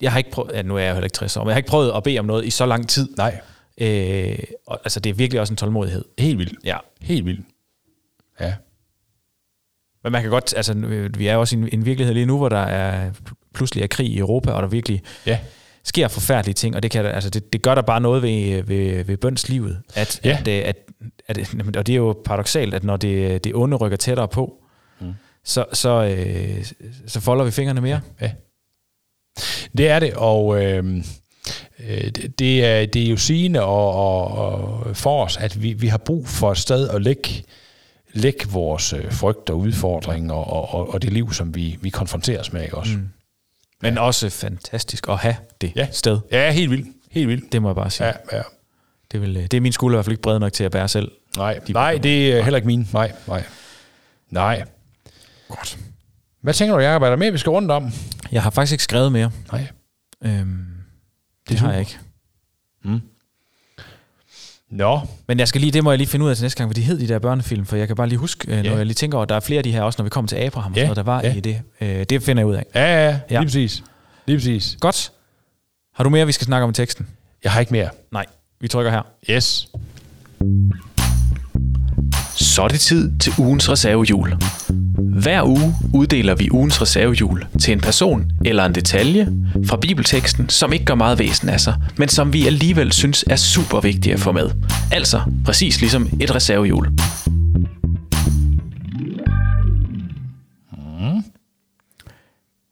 S1: Jeg har ikke prøvet, ja, nu er jeg jo heller ikke 60 år, men jeg har ikke prøvet at bede om noget i så lang tid.
S2: Nej.
S1: Øh, og, altså, det er virkelig også en tålmodighed.
S2: Helt vildt.
S1: Ja.
S2: Helt vildt. Ja.
S1: Men man kan godt, altså, nu- vi er jo også i en, en virkelighed lige nu, hvor der er pludselig er krig i Europa, og der virkelig
S2: Ja.
S1: sker forfærdelige ting, og det, kan, da- altså det, det gør der bare noget ved, ved, ved bønslivet. At,
S2: Ja.
S1: ja. at, øh, at, at, jamen, og det er jo paradoxalt, at når det, det onde rykker tættere på,
S2: Mm.
S1: mm. så, så, øh, så folder vi fingrene mere.
S2: ja. Det er det, og øh, øh, det- det, er, det er jo sigende og, og, og for os, at vi, vi har brug for et sted at lægge, lægge vores øh, frygt og udfordring og, og, og- og det liv, som vi, vi konfronteres med, ikke også? Mm.
S1: Men også fantastisk at have det
S2: Ja.
S1: ja. sted.
S2: Ja, helt vildt. Helt vildt.
S1: Det må jeg bare sige.
S2: Ja,
S1: Ja.
S2: ja.
S1: Det, vil, øh, det er min skulder i hvert fald ikke bred nok til at bære selv.
S2: Nej, nej, det er heller ikke min. Nej, nej. Nej.
S1: Godt.
S2: Hvad tænker du, Jacob? Er der mere, vi skal rundt om?
S1: Jeg har faktisk ikke skrevet mere.
S2: Nej.
S1: Øhm, det, det har jeg ikke.
S2: Nå,
S1: Men jeg skal lige, det må jeg lige finde ud af til næste gang, hvad de hed, de der børnefilm, for jeg kan bare lige huske, yeah.
S2: Ja.
S1: når jeg lige tænker over, der er flere af de her også, når vi kommer til Abraham og
S2: Ja,
S1: sådan noget, der var
S2: ja.
S1: i det. Øh, det finder jeg ud af.
S2: ja, ja, ja.
S1: Ja.
S2: Lige præcis. Lige præcis.
S1: Godt. Har du mere, vi skal snakke om i teksten?
S2: Jeg har ikke mere.
S1: Nej, vi trykker her.
S2: Yes.
S3: Så er det tid til ugens reservehjul. Hver uge uddeler vi ugens reservehjul til en person eller en detalje fra bibelteksten, som ikke gør meget væsen af sig, men som vi alligevel synes er super vigtige at få med. Altså præcis ligesom et reservehjul.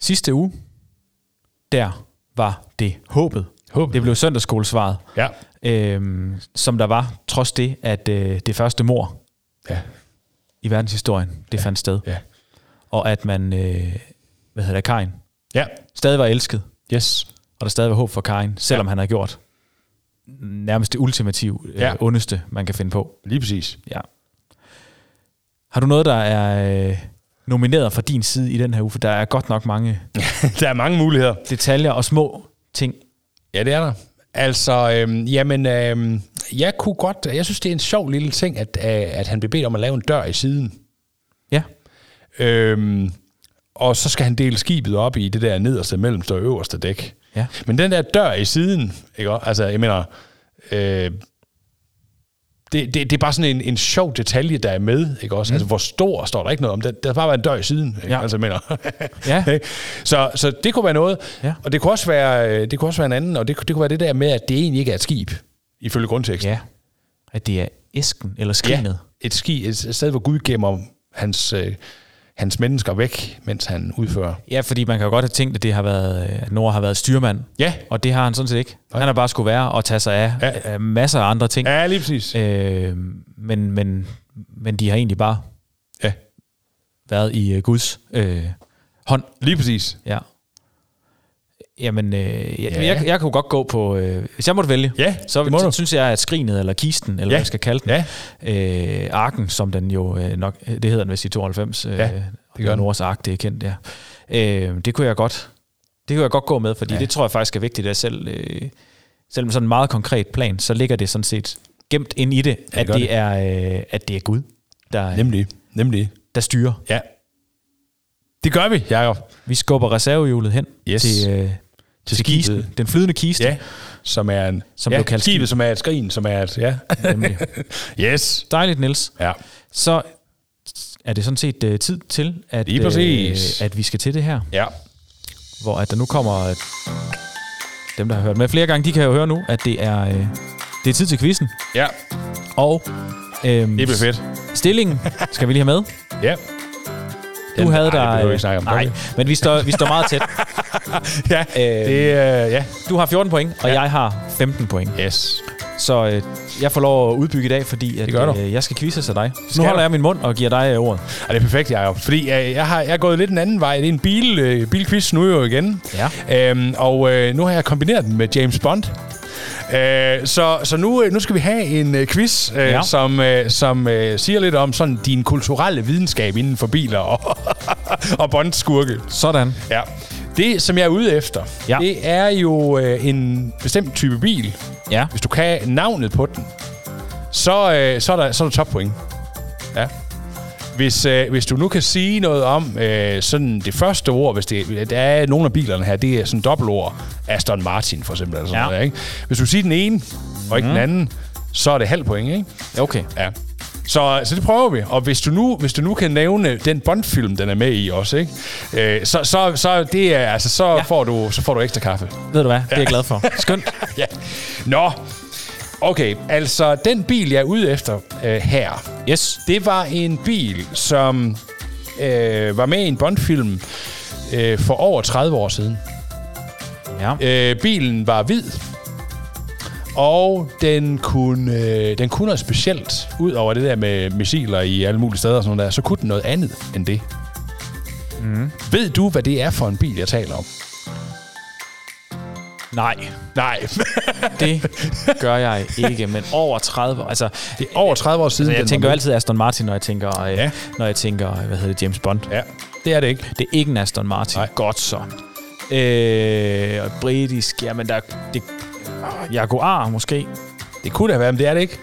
S1: Sidste uge, der var det håbet.
S2: Håbet.
S1: Det blev søndagsskolesvaret,
S2: Ja.
S1: øhm, som der var, trods det, at øh, det første mor
S2: Ja.
S1: i verdenshistorien, det ja. fandt sted.
S2: Ja.
S1: Og at man, øh, hvad hedder det, Kain,
S2: Ja.
S1: stadig var elsket.
S2: Yes.
S1: og der stadig var håb for Karin, selvom ja.
S2: Ja.
S1: han har gjort nærmest det ultimative,
S2: Ja.
S1: ja. øh, ondeste, man kan finde på.
S2: Lige præcis.
S1: Ja. Har du noget, der er øh, nomineret fra din side i den her uge? For der er godt nok mange
S2: (laughs) der er mange muligheder.
S1: detaljer og små ting.
S2: Ja, det er der. Altså, øhm, jamen, øhm, jeg kunne godt, jeg synes, det er en sjov lille ting, at, øh, at han blev bedt om at lave en dør i siden.
S1: Ja,
S2: Øhm, og så skal han dele skibet op i det der nederste, mellemste og øverste dæk.
S1: Ja.
S2: Men den der dør i siden, ikke? også? altså jeg mener, øh, det, det, det er bare sådan en, en sjov detalje, der er med. Ikke også? Mm. Altså hvor stor står der ikke noget om den. Der har bare været en dør i siden. Ikke?
S1: Ja.
S2: Altså, jeg mener.
S1: (laughs) Ja.
S2: Ikke? så, så det kunne være noget.
S1: Ja.
S2: Og det kunne, også være, øh, det kunne også være en anden, og det, kunne- det kunne være det der med, at det egentlig ikke er et skib, ifølge grundteksten.
S1: ja. At det er æsken eller skrinet.
S2: Et, ski, et sted, hvor Gud gemmer hans, øh, hans mennesker væk, mens han udfører.
S1: Ja, fordi man kan jo godt have tænkt, at, det har været, at Nora har været styrmand.
S2: Ja.
S1: Og det har han sådan set ikke. Nej. Han har bare skulle være og tage sig af,
S2: Ja.
S1: ja. af masser af andre ting.
S2: Ja, lige præcis.
S1: Øh, men, men, men de har egentlig bare
S2: Ja.
S1: været i øh, Guds øh, hånd.
S2: Lige præcis.
S1: Ja. Jamen, øh, jeg,
S2: Ja.
S1: ja. Jeg, jeg kunne godt gå på... Øh, hvis jeg måtte vælge,
S2: Ja,
S1: så,
S2: det må
S1: så
S2: du.
S1: synes jeg, at skrinet, eller kisten, eller
S2: Ja.
S1: ja. hvad jeg skal kalde den,
S2: Ja.
S1: øh, arken, som den jo øh, nok... Det hedder den vist i 92. Øh,
S2: Ja,
S1: det
S2: gør den.
S1: Nords ark, det er kendt, ja. Øh, det kunne jeg godt... Det kunne jeg godt gå med, fordi
S2: Ja.
S1: ja. det tror jeg faktisk er vigtigt, at selv... Øh, selvom sådan en meget konkret plan, så ligger det sådan set gemt ind i det, ja, det at,
S2: gør
S1: det
S2: det.
S1: Er, øh, at det er Gud, der,
S2: Nemlig. Nemlig.
S1: der styrer.
S2: Ja. Det gør vi, Jacob.
S1: Vi skubber reservehjulet hen
S2: Yes.
S1: til, øh,
S2: Til
S1: til, til kisten,
S2: skibet.
S1: den flydende kiste.
S2: Ja. Som er en...
S1: Som
S2: ja,
S1: blev kaldt skib.
S2: skibet, som er et skrin, som er et... Ja.
S1: Nemlig.
S2: (laughs) Yes.
S1: Dejligt, Niels.
S2: Ja.
S1: Så er det sådan set uh, tid til, at, øh,
S2: Lige præcis.
S1: at vi skal til det her,
S2: Ja.
S1: hvor at der nu kommer uh, dem, der har hørt med flere gange, de kan jo høre nu, at det er, uh, det er tid til quizzen.
S2: Ja.
S1: Og øhm,
S2: Det bliver fedt.
S1: stillingen skal vi lige have med.
S2: Ja.
S1: Du havde
S2: nej, det
S1: der...
S2: behøver vi ikke snakke om.
S1: nej, men vi står, vi står meget tæt.
S2: Ja.
S1: Øh,
S2: Det er... Øh, ja.
S1: Du har 14 point, og ja. jeg har 15 point.
S2: Yes.
S1: Så øh, jeg får lov at udbygge i dag, fordi at,
S2: Det gør du.
S1: øh, jeg skal quizze til dig.
S2: Skal
S1: Nu
S2: du?
S1: holder jeg min mund og giver dig øh, ordet.
S2: Og det er perfekt, Jacob. Fordi øh, jeg, har, jeg er gået lidt en anden vej. Det er en bil, øh, bilquiz nu jo igen.
S1: Ja.
S2: Øhm, og øh, nu har jeg kombineret den med James Bond. Øh, så så nu, øh, nu skal vi have en øh, quiz, øh, ja.
S1: Ja.
S2: som, øh, som øh, siger lidt om sådan din kulturelle videnskab inden for biler og, (laughs) og Bond-skurke.
S1: Sådan.
S2: Ja. Det, som jeg er ude efter,
S1: Ja.
S2: det er jo øh, en bestemt type bil.
S1: Ja.
S2: Hvis du kan navnet på den, så, øh, så, er, der, så er der toppoint. Ja. Hvis, øh, hvis du nu kan sige noget om øh, sådan det første ord, hvis det, der er nogle af bilerne her, det er sådan dobbeltord. Aston Martin for eksempel. Eller sådan
S1: Ja.
S2: noget, ikke? Hvis du siger den ene, og ikke mm. den anden, så er det halv point, ikke?
S1: Okay.
S2: Ja. Så, så det prøver vi. Og hvis du nu, hvis du nu kan nævne den Bond-film, den er med i også, ikke? Øh, så, så, så, det er, altså, så, ja. får du, så får du ekstra kaffe.
S1: Ved du hvad? Det er jeg glad for.
S2: (laughs)
S1: Skønt.
S2: Ja. Nå, okay. Altså, den bil, jeg er ude efter øh, her,
S1: Yes.
S2: det var en bil, som øh, var med i en Bond-film øh, for over 30 år siden.
S1: Ja.
S2: Øh, bilen var hvid, og den kunne, øh, den kunne noget specielt. Udover det der med missiler i alle mulige steder og sådan noget der, så kunne den noget andet end det.
S1: Mm-hmm.
S2: Mm. Ved du, hvad det er for en bil, jeg taler om?
S1: Nej,
S2: Nej,
S1: det gør jeg ikke, men over 30 Altså,
S2: det er over 30 år siden.
S1: jeg
S2: den
S1: tænker jo
S2: var
S1: altid Aston Martin, når jeg tænker, øh,
S2: Ja.
S1: ja. når jeg tænker øh, hvad hedder det, James Bond.
S2: med. Ja, det er det ikke.
S1: Det er ikke en Aston Martin.
S2: Nej.
S1: Godt så. Øh, og britisk, jamen der er- det, Jaguar måske.
S2: Det kunne det have været, men det er det ikke.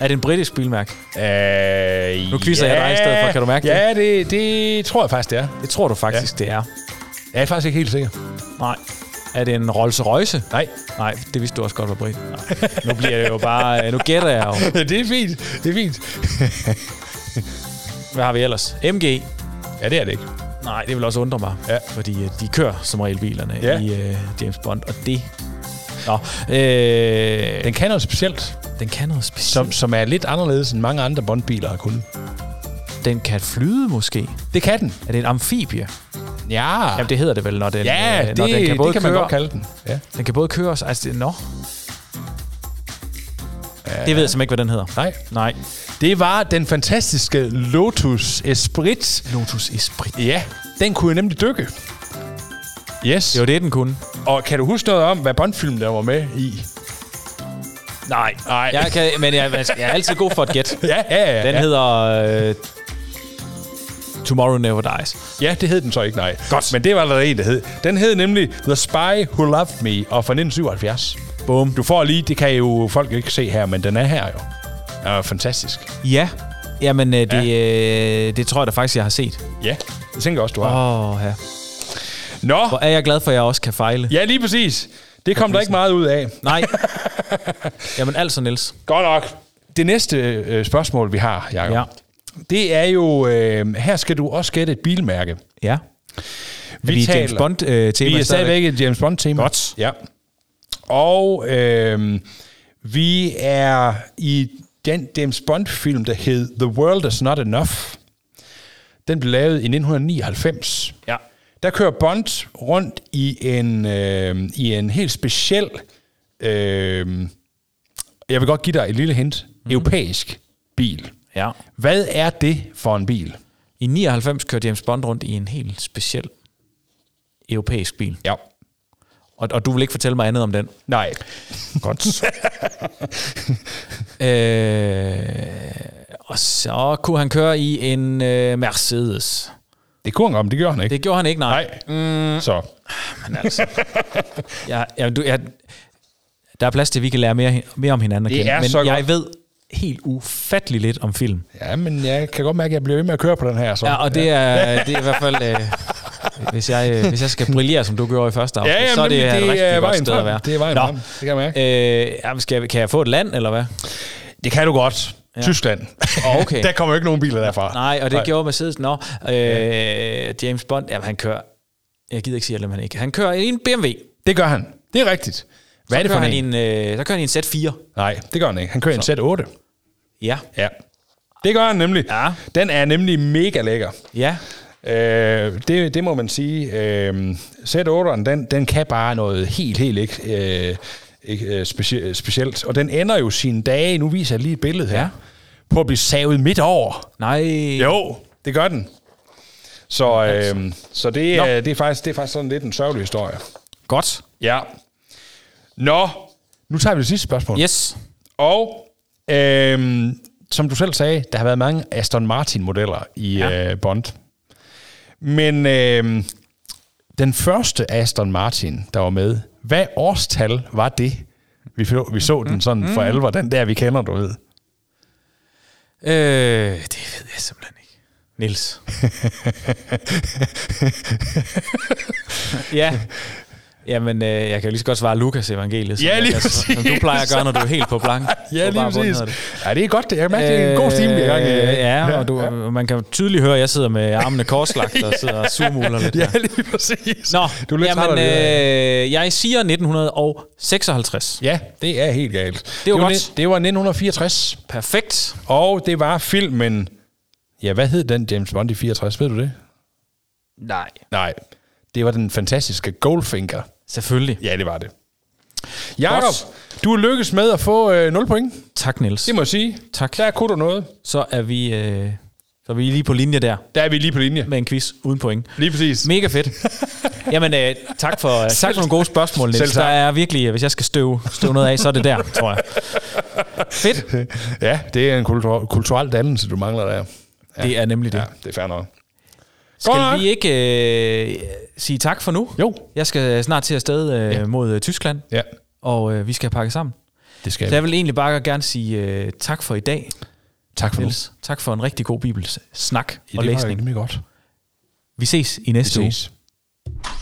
S1: Er det en britisk bilmærke?
S2: Øh,
S1: Nu quizzer jeg dig i stedet for, kan du mærke det?
S2: ja, Ja, det, det tror jeg faktisk, det er.
S1: Det tror du faktisk, ja. det er.
S2: Jeg er faktisk ikke helt sikker.
S1: Nej. Er det en Rolls Royce?
S2: Nej.
S1: Nej, det vidste du også godt var brit. Nej. Nu bliver det jo bare... øh, Nu gætter jeg jo.
S2: (laughs) det er fint. Det er fint.
S1: Hvad har vi ellers? MG.
S2: Ja, det er det ikke.
S1: Nej, det vil også undre mig,
S2: Ja.
S1: ja. fordi øh, de kører som regel bilerne
S2: Ja.
S1: ja. i øh, James Bond, og det... Nå, øh, den,
S2: Den kan noget specielt,
S1: den kan noget specielt.
S2: som, som er lidt anderledes end mange andre Bond-biler har kunnet.
S1: Den kan flyde måske.
S2: Det kan den.
S1: Er det en amfibie?
S2: Ja,
S1: Jamen, det hedder det vel, når den,
S2: ja
S1: øh,
S2: det,
S1: når den kan både
S2: det kan man
S1: køre,
S2: godt kalde den. Ja.
S1: Den kan både køre og... Altså, det, nå. Ja. Det ved jeg simpelthen ikke, hvad den hedder.
S2: Nej.
S1: Nej.
S2: Det var den fantastiske Lotus Esprit.
S1: Lotus Esprit.
S2: Ja, den kunne jo nemlig dykke. Yes.
S1: Det var det, den kunne.
S2: Og kan du huske noget om, hvad Bond-filmen der var med i?
S1: Nej.
S2: Nej.
S1: Jeg kan, men jeg, jeg er altid god for et (laughs) gæt.
S2: Ja, ja, ja.
S1: Den
S2: ja.
S1: hedder... Øh, Tomorrow Never Dies.
S2: Ja, det hed den så ikke, nej. Godt. Men det var der en, der hed. Den hed nemlig The Spy Who Loved Me, og fra 1977.
S1: Boom.
S2: Du får lige, det kan jo folk ikke se her, men den er her jo. Den er fantastisk.
S1: Ja. Jamen, øh, det, øh, det tror jeg da faktisk, jeg har set.
S2: Ja, det tænker jeg også, du har.
S1: Åh, oh, ja.
S2: Nå,
S1: Hvor er jeg glad for, at jeg også kan fejle.
S2: ja lige præcis. Det kom der ikke meget ud af. (laughs)
S1: Nej. Jamen altså, Niels.
S2: Godt nok. Det næste øh, spørgsmål, vi har, Jacob, ja.
S1: Ja.
S2: det er jo, øh, her skal du også gætte et bilmærke.
S1: Ja.
S2: Vi,
S1: Vi er James øh, Bond-tema.
S2: Vi er øh, stadigvæk et James Bond-tema.
S1: Godt.
S2: Ja. Og øh, vi er i den James Bond-film, der hed The World Is Not Enough. den blev lavet i 1999.
S1: Ja.
S2: Der kører Bond rundt i en, øh, i en helt speciel, øh, jeg vil godt give dig et lille hint, mm. europæisk bil.
S1: ja.
S2: Hvad er det for en bil?
S1: I 99 kørte James Bond rundt i en helt speciel europæisk bil.
S2: Ja.
S1: Og, og du vil ikke fortælle mig andet om den.
S2: Nej.
S1: Godt. øh, og så kunne han køre i en øh, Mercedes.
S2: Det kunne han godt, men det gjorde han ikke.
S1: Det gjorde han ikke, nej.
S2: Nej. Mm. Så.
S1: Men (laughs) altså, jeg, jeg, du, jeg, der er plads til, at vi kan lære mere, mere om hinanden at
S2: Det
S1: kende.
S2: er
S1: men
S2: så
S1: jeg
S2: godt.
S1: ved helt ufattelig lidt om film.
S2: Ja, men jeg kan godt mærke, at jeg bliver ved med at køre på den her. Så.
S1: Ja, og det er, det er i hvert fald... Øh, hvis, jeg, øh, hvis jeg skal brillere, som du gjorde i første afsnit,
S2: Ja, jamen,
S1: så er det,
S2: nemlig,
S1: det et
S2: det
S1: rigtig
S2: er
S1: godt
S2: vejen
S1: sted at
S2: frem.
S1: være.
S2: Det er vejen
S1: Nå.
S2: frem. Det kan jeg mærke.
S1: Øh, jamen, skal jeg, kan jeg få et land, eller hvad?
S2: det kan du godt. Ja. Tyskland.
S1: Åh, okay.
S2: (laughs) der kommer jo ikke nogen biler derfra.
S1: Nej, og det Nej. gjorde Mercedes. Nå, øh, James Bond, jamen, han kører... Jeg gider ikke sige, at han ikke... Han kører i en BMW.
S2: Det gør han. Det er rigtigt. Hvad er det
S1: kører
S2: for en?
S1: han i en, øh, så kører han i en Z4.
S2: Nej, det gør han ikke. Han kører så. en Z8.
S1: Ja.
S2: Ja. Det gør han nemlig.
S1: Ja.
S2: Den er nemlig mega lækker.
S1: Ja.
S2: Øh, det, det må man sige. Øh, Z8'eren, den, den kan bare noget helt, helt ikke, øh, ikke, øh, specie, specielt. Og den ender jo sine dage, nu viser jeg lige et billede her,
S1: Ja.
S2: ja. på at blive savet midt over.
S1: Nej.
S2: Jo, det gør den. Så, øh, så det,
S1: Nå.
S2: øh, det, er faktisk, det er faktisk sådan lidt en sørgelig historie.
S1: Godt.
S2: Ja. Nå, nu tager vi det sidste spørgsmål.
S1: Yes.
S2: Og øhm, som du selv sagde, der har været mange Aston Martin-modeller i ja. øh, Bond. Men øhm, den første Aston Martin, der var med, hvad årstal var det? Vi, så- vi så den sådan for alvor, den der vi kender, du ved.
S1: Øh, det ved jeg simpelthen ikke. Nils. (laughs) ja. Jamen, øh, jeg kan jo lige så godt svare Lukas evangeliet, som,
S2: Ja,
S1: jeg
S2: lige
S1: kan-
S2: præcis.
S1: som du plejer at gøre, når du er helt på
S2: (laughs)
S1: blank. På bare bunden hedder det.
S2: Ja, det er godt. Det. Jeg kan mærke, det er en god stime, vi er i gang i.
S1: Øh, Ja, og du, man kan jo tydeligt høre, at jeg sidder med armene korslagt og sidder og surmuler lidt.
S2: (laughs) Ja,
S1: her.
S2: lige præcis.
S1: Nå,
S2: du er lidt
S1: jamen,
S2: træt af det. Øh...
S1: øh, jeg siger 1956.
S2: Ja, det er helt galt.
S1: Det var godt.
S2: ne- Det var 1964.
S1: Perfekt.
S2: Og det var filmen... Ja, hvad hed den James Bond i 64? Ved du det?
S1: Nej.
S2: Nej. Det var den fantastiske Goldfinger.
S1: Selvfølgelig.
S2: Ja, det var det. Jakob, du er lykkes med at få øh, 0 point.
S1: Tak, Niels.
S2: Det må jeg sige.
S1: Tak.
S2: Der kunne du noget.
S1: Så er vi, øh, så er vi lige på linje der
S2: Der er vi lige på linje.
S1: med en quiz uden point.
S2: Lige præcis.
S1: Mega fedt. Jamen, øh, tak, for, øh, tak for nogle gode spørgsmål, Niels.
S2: Selv tak.
S1: Der er virkelig, øh, hvis jeg skal støve, støve noget af, så er det
S2: (laughs)
S1: der, tror jeg. Fedt.
S2: (laughs) Ja, det er en kultur- kulturel dannelse, du mangler der.
S1: Ja. Det er nemlig det.
S2: Ja,
S1: Ja.
S2: det er fair nok. Godt
S1: Skal
S2: nok.
S1: vi ikke øh, sige tak for nu?
S2: Jo.
S1: Jeg skal snart til afsted øh, ja. mod øh, Tyskland,
S2: Ja,
S1: og øh, vi skal pakke sammen.
S2: det skal
S1: Så
S2: jeg.
S1: jeg vil egentlig bare gerne sige øh, tak for i dag,
S2: Tak for
S1: Niels. Tak for en rigtig god bibelsnak
S2: Ja,
S1: og
S2: det var
S1: læsning.
S2: nemlig godt.
S1: Vi ses i næste
S2: Vi
S1: uge.
S2: ses.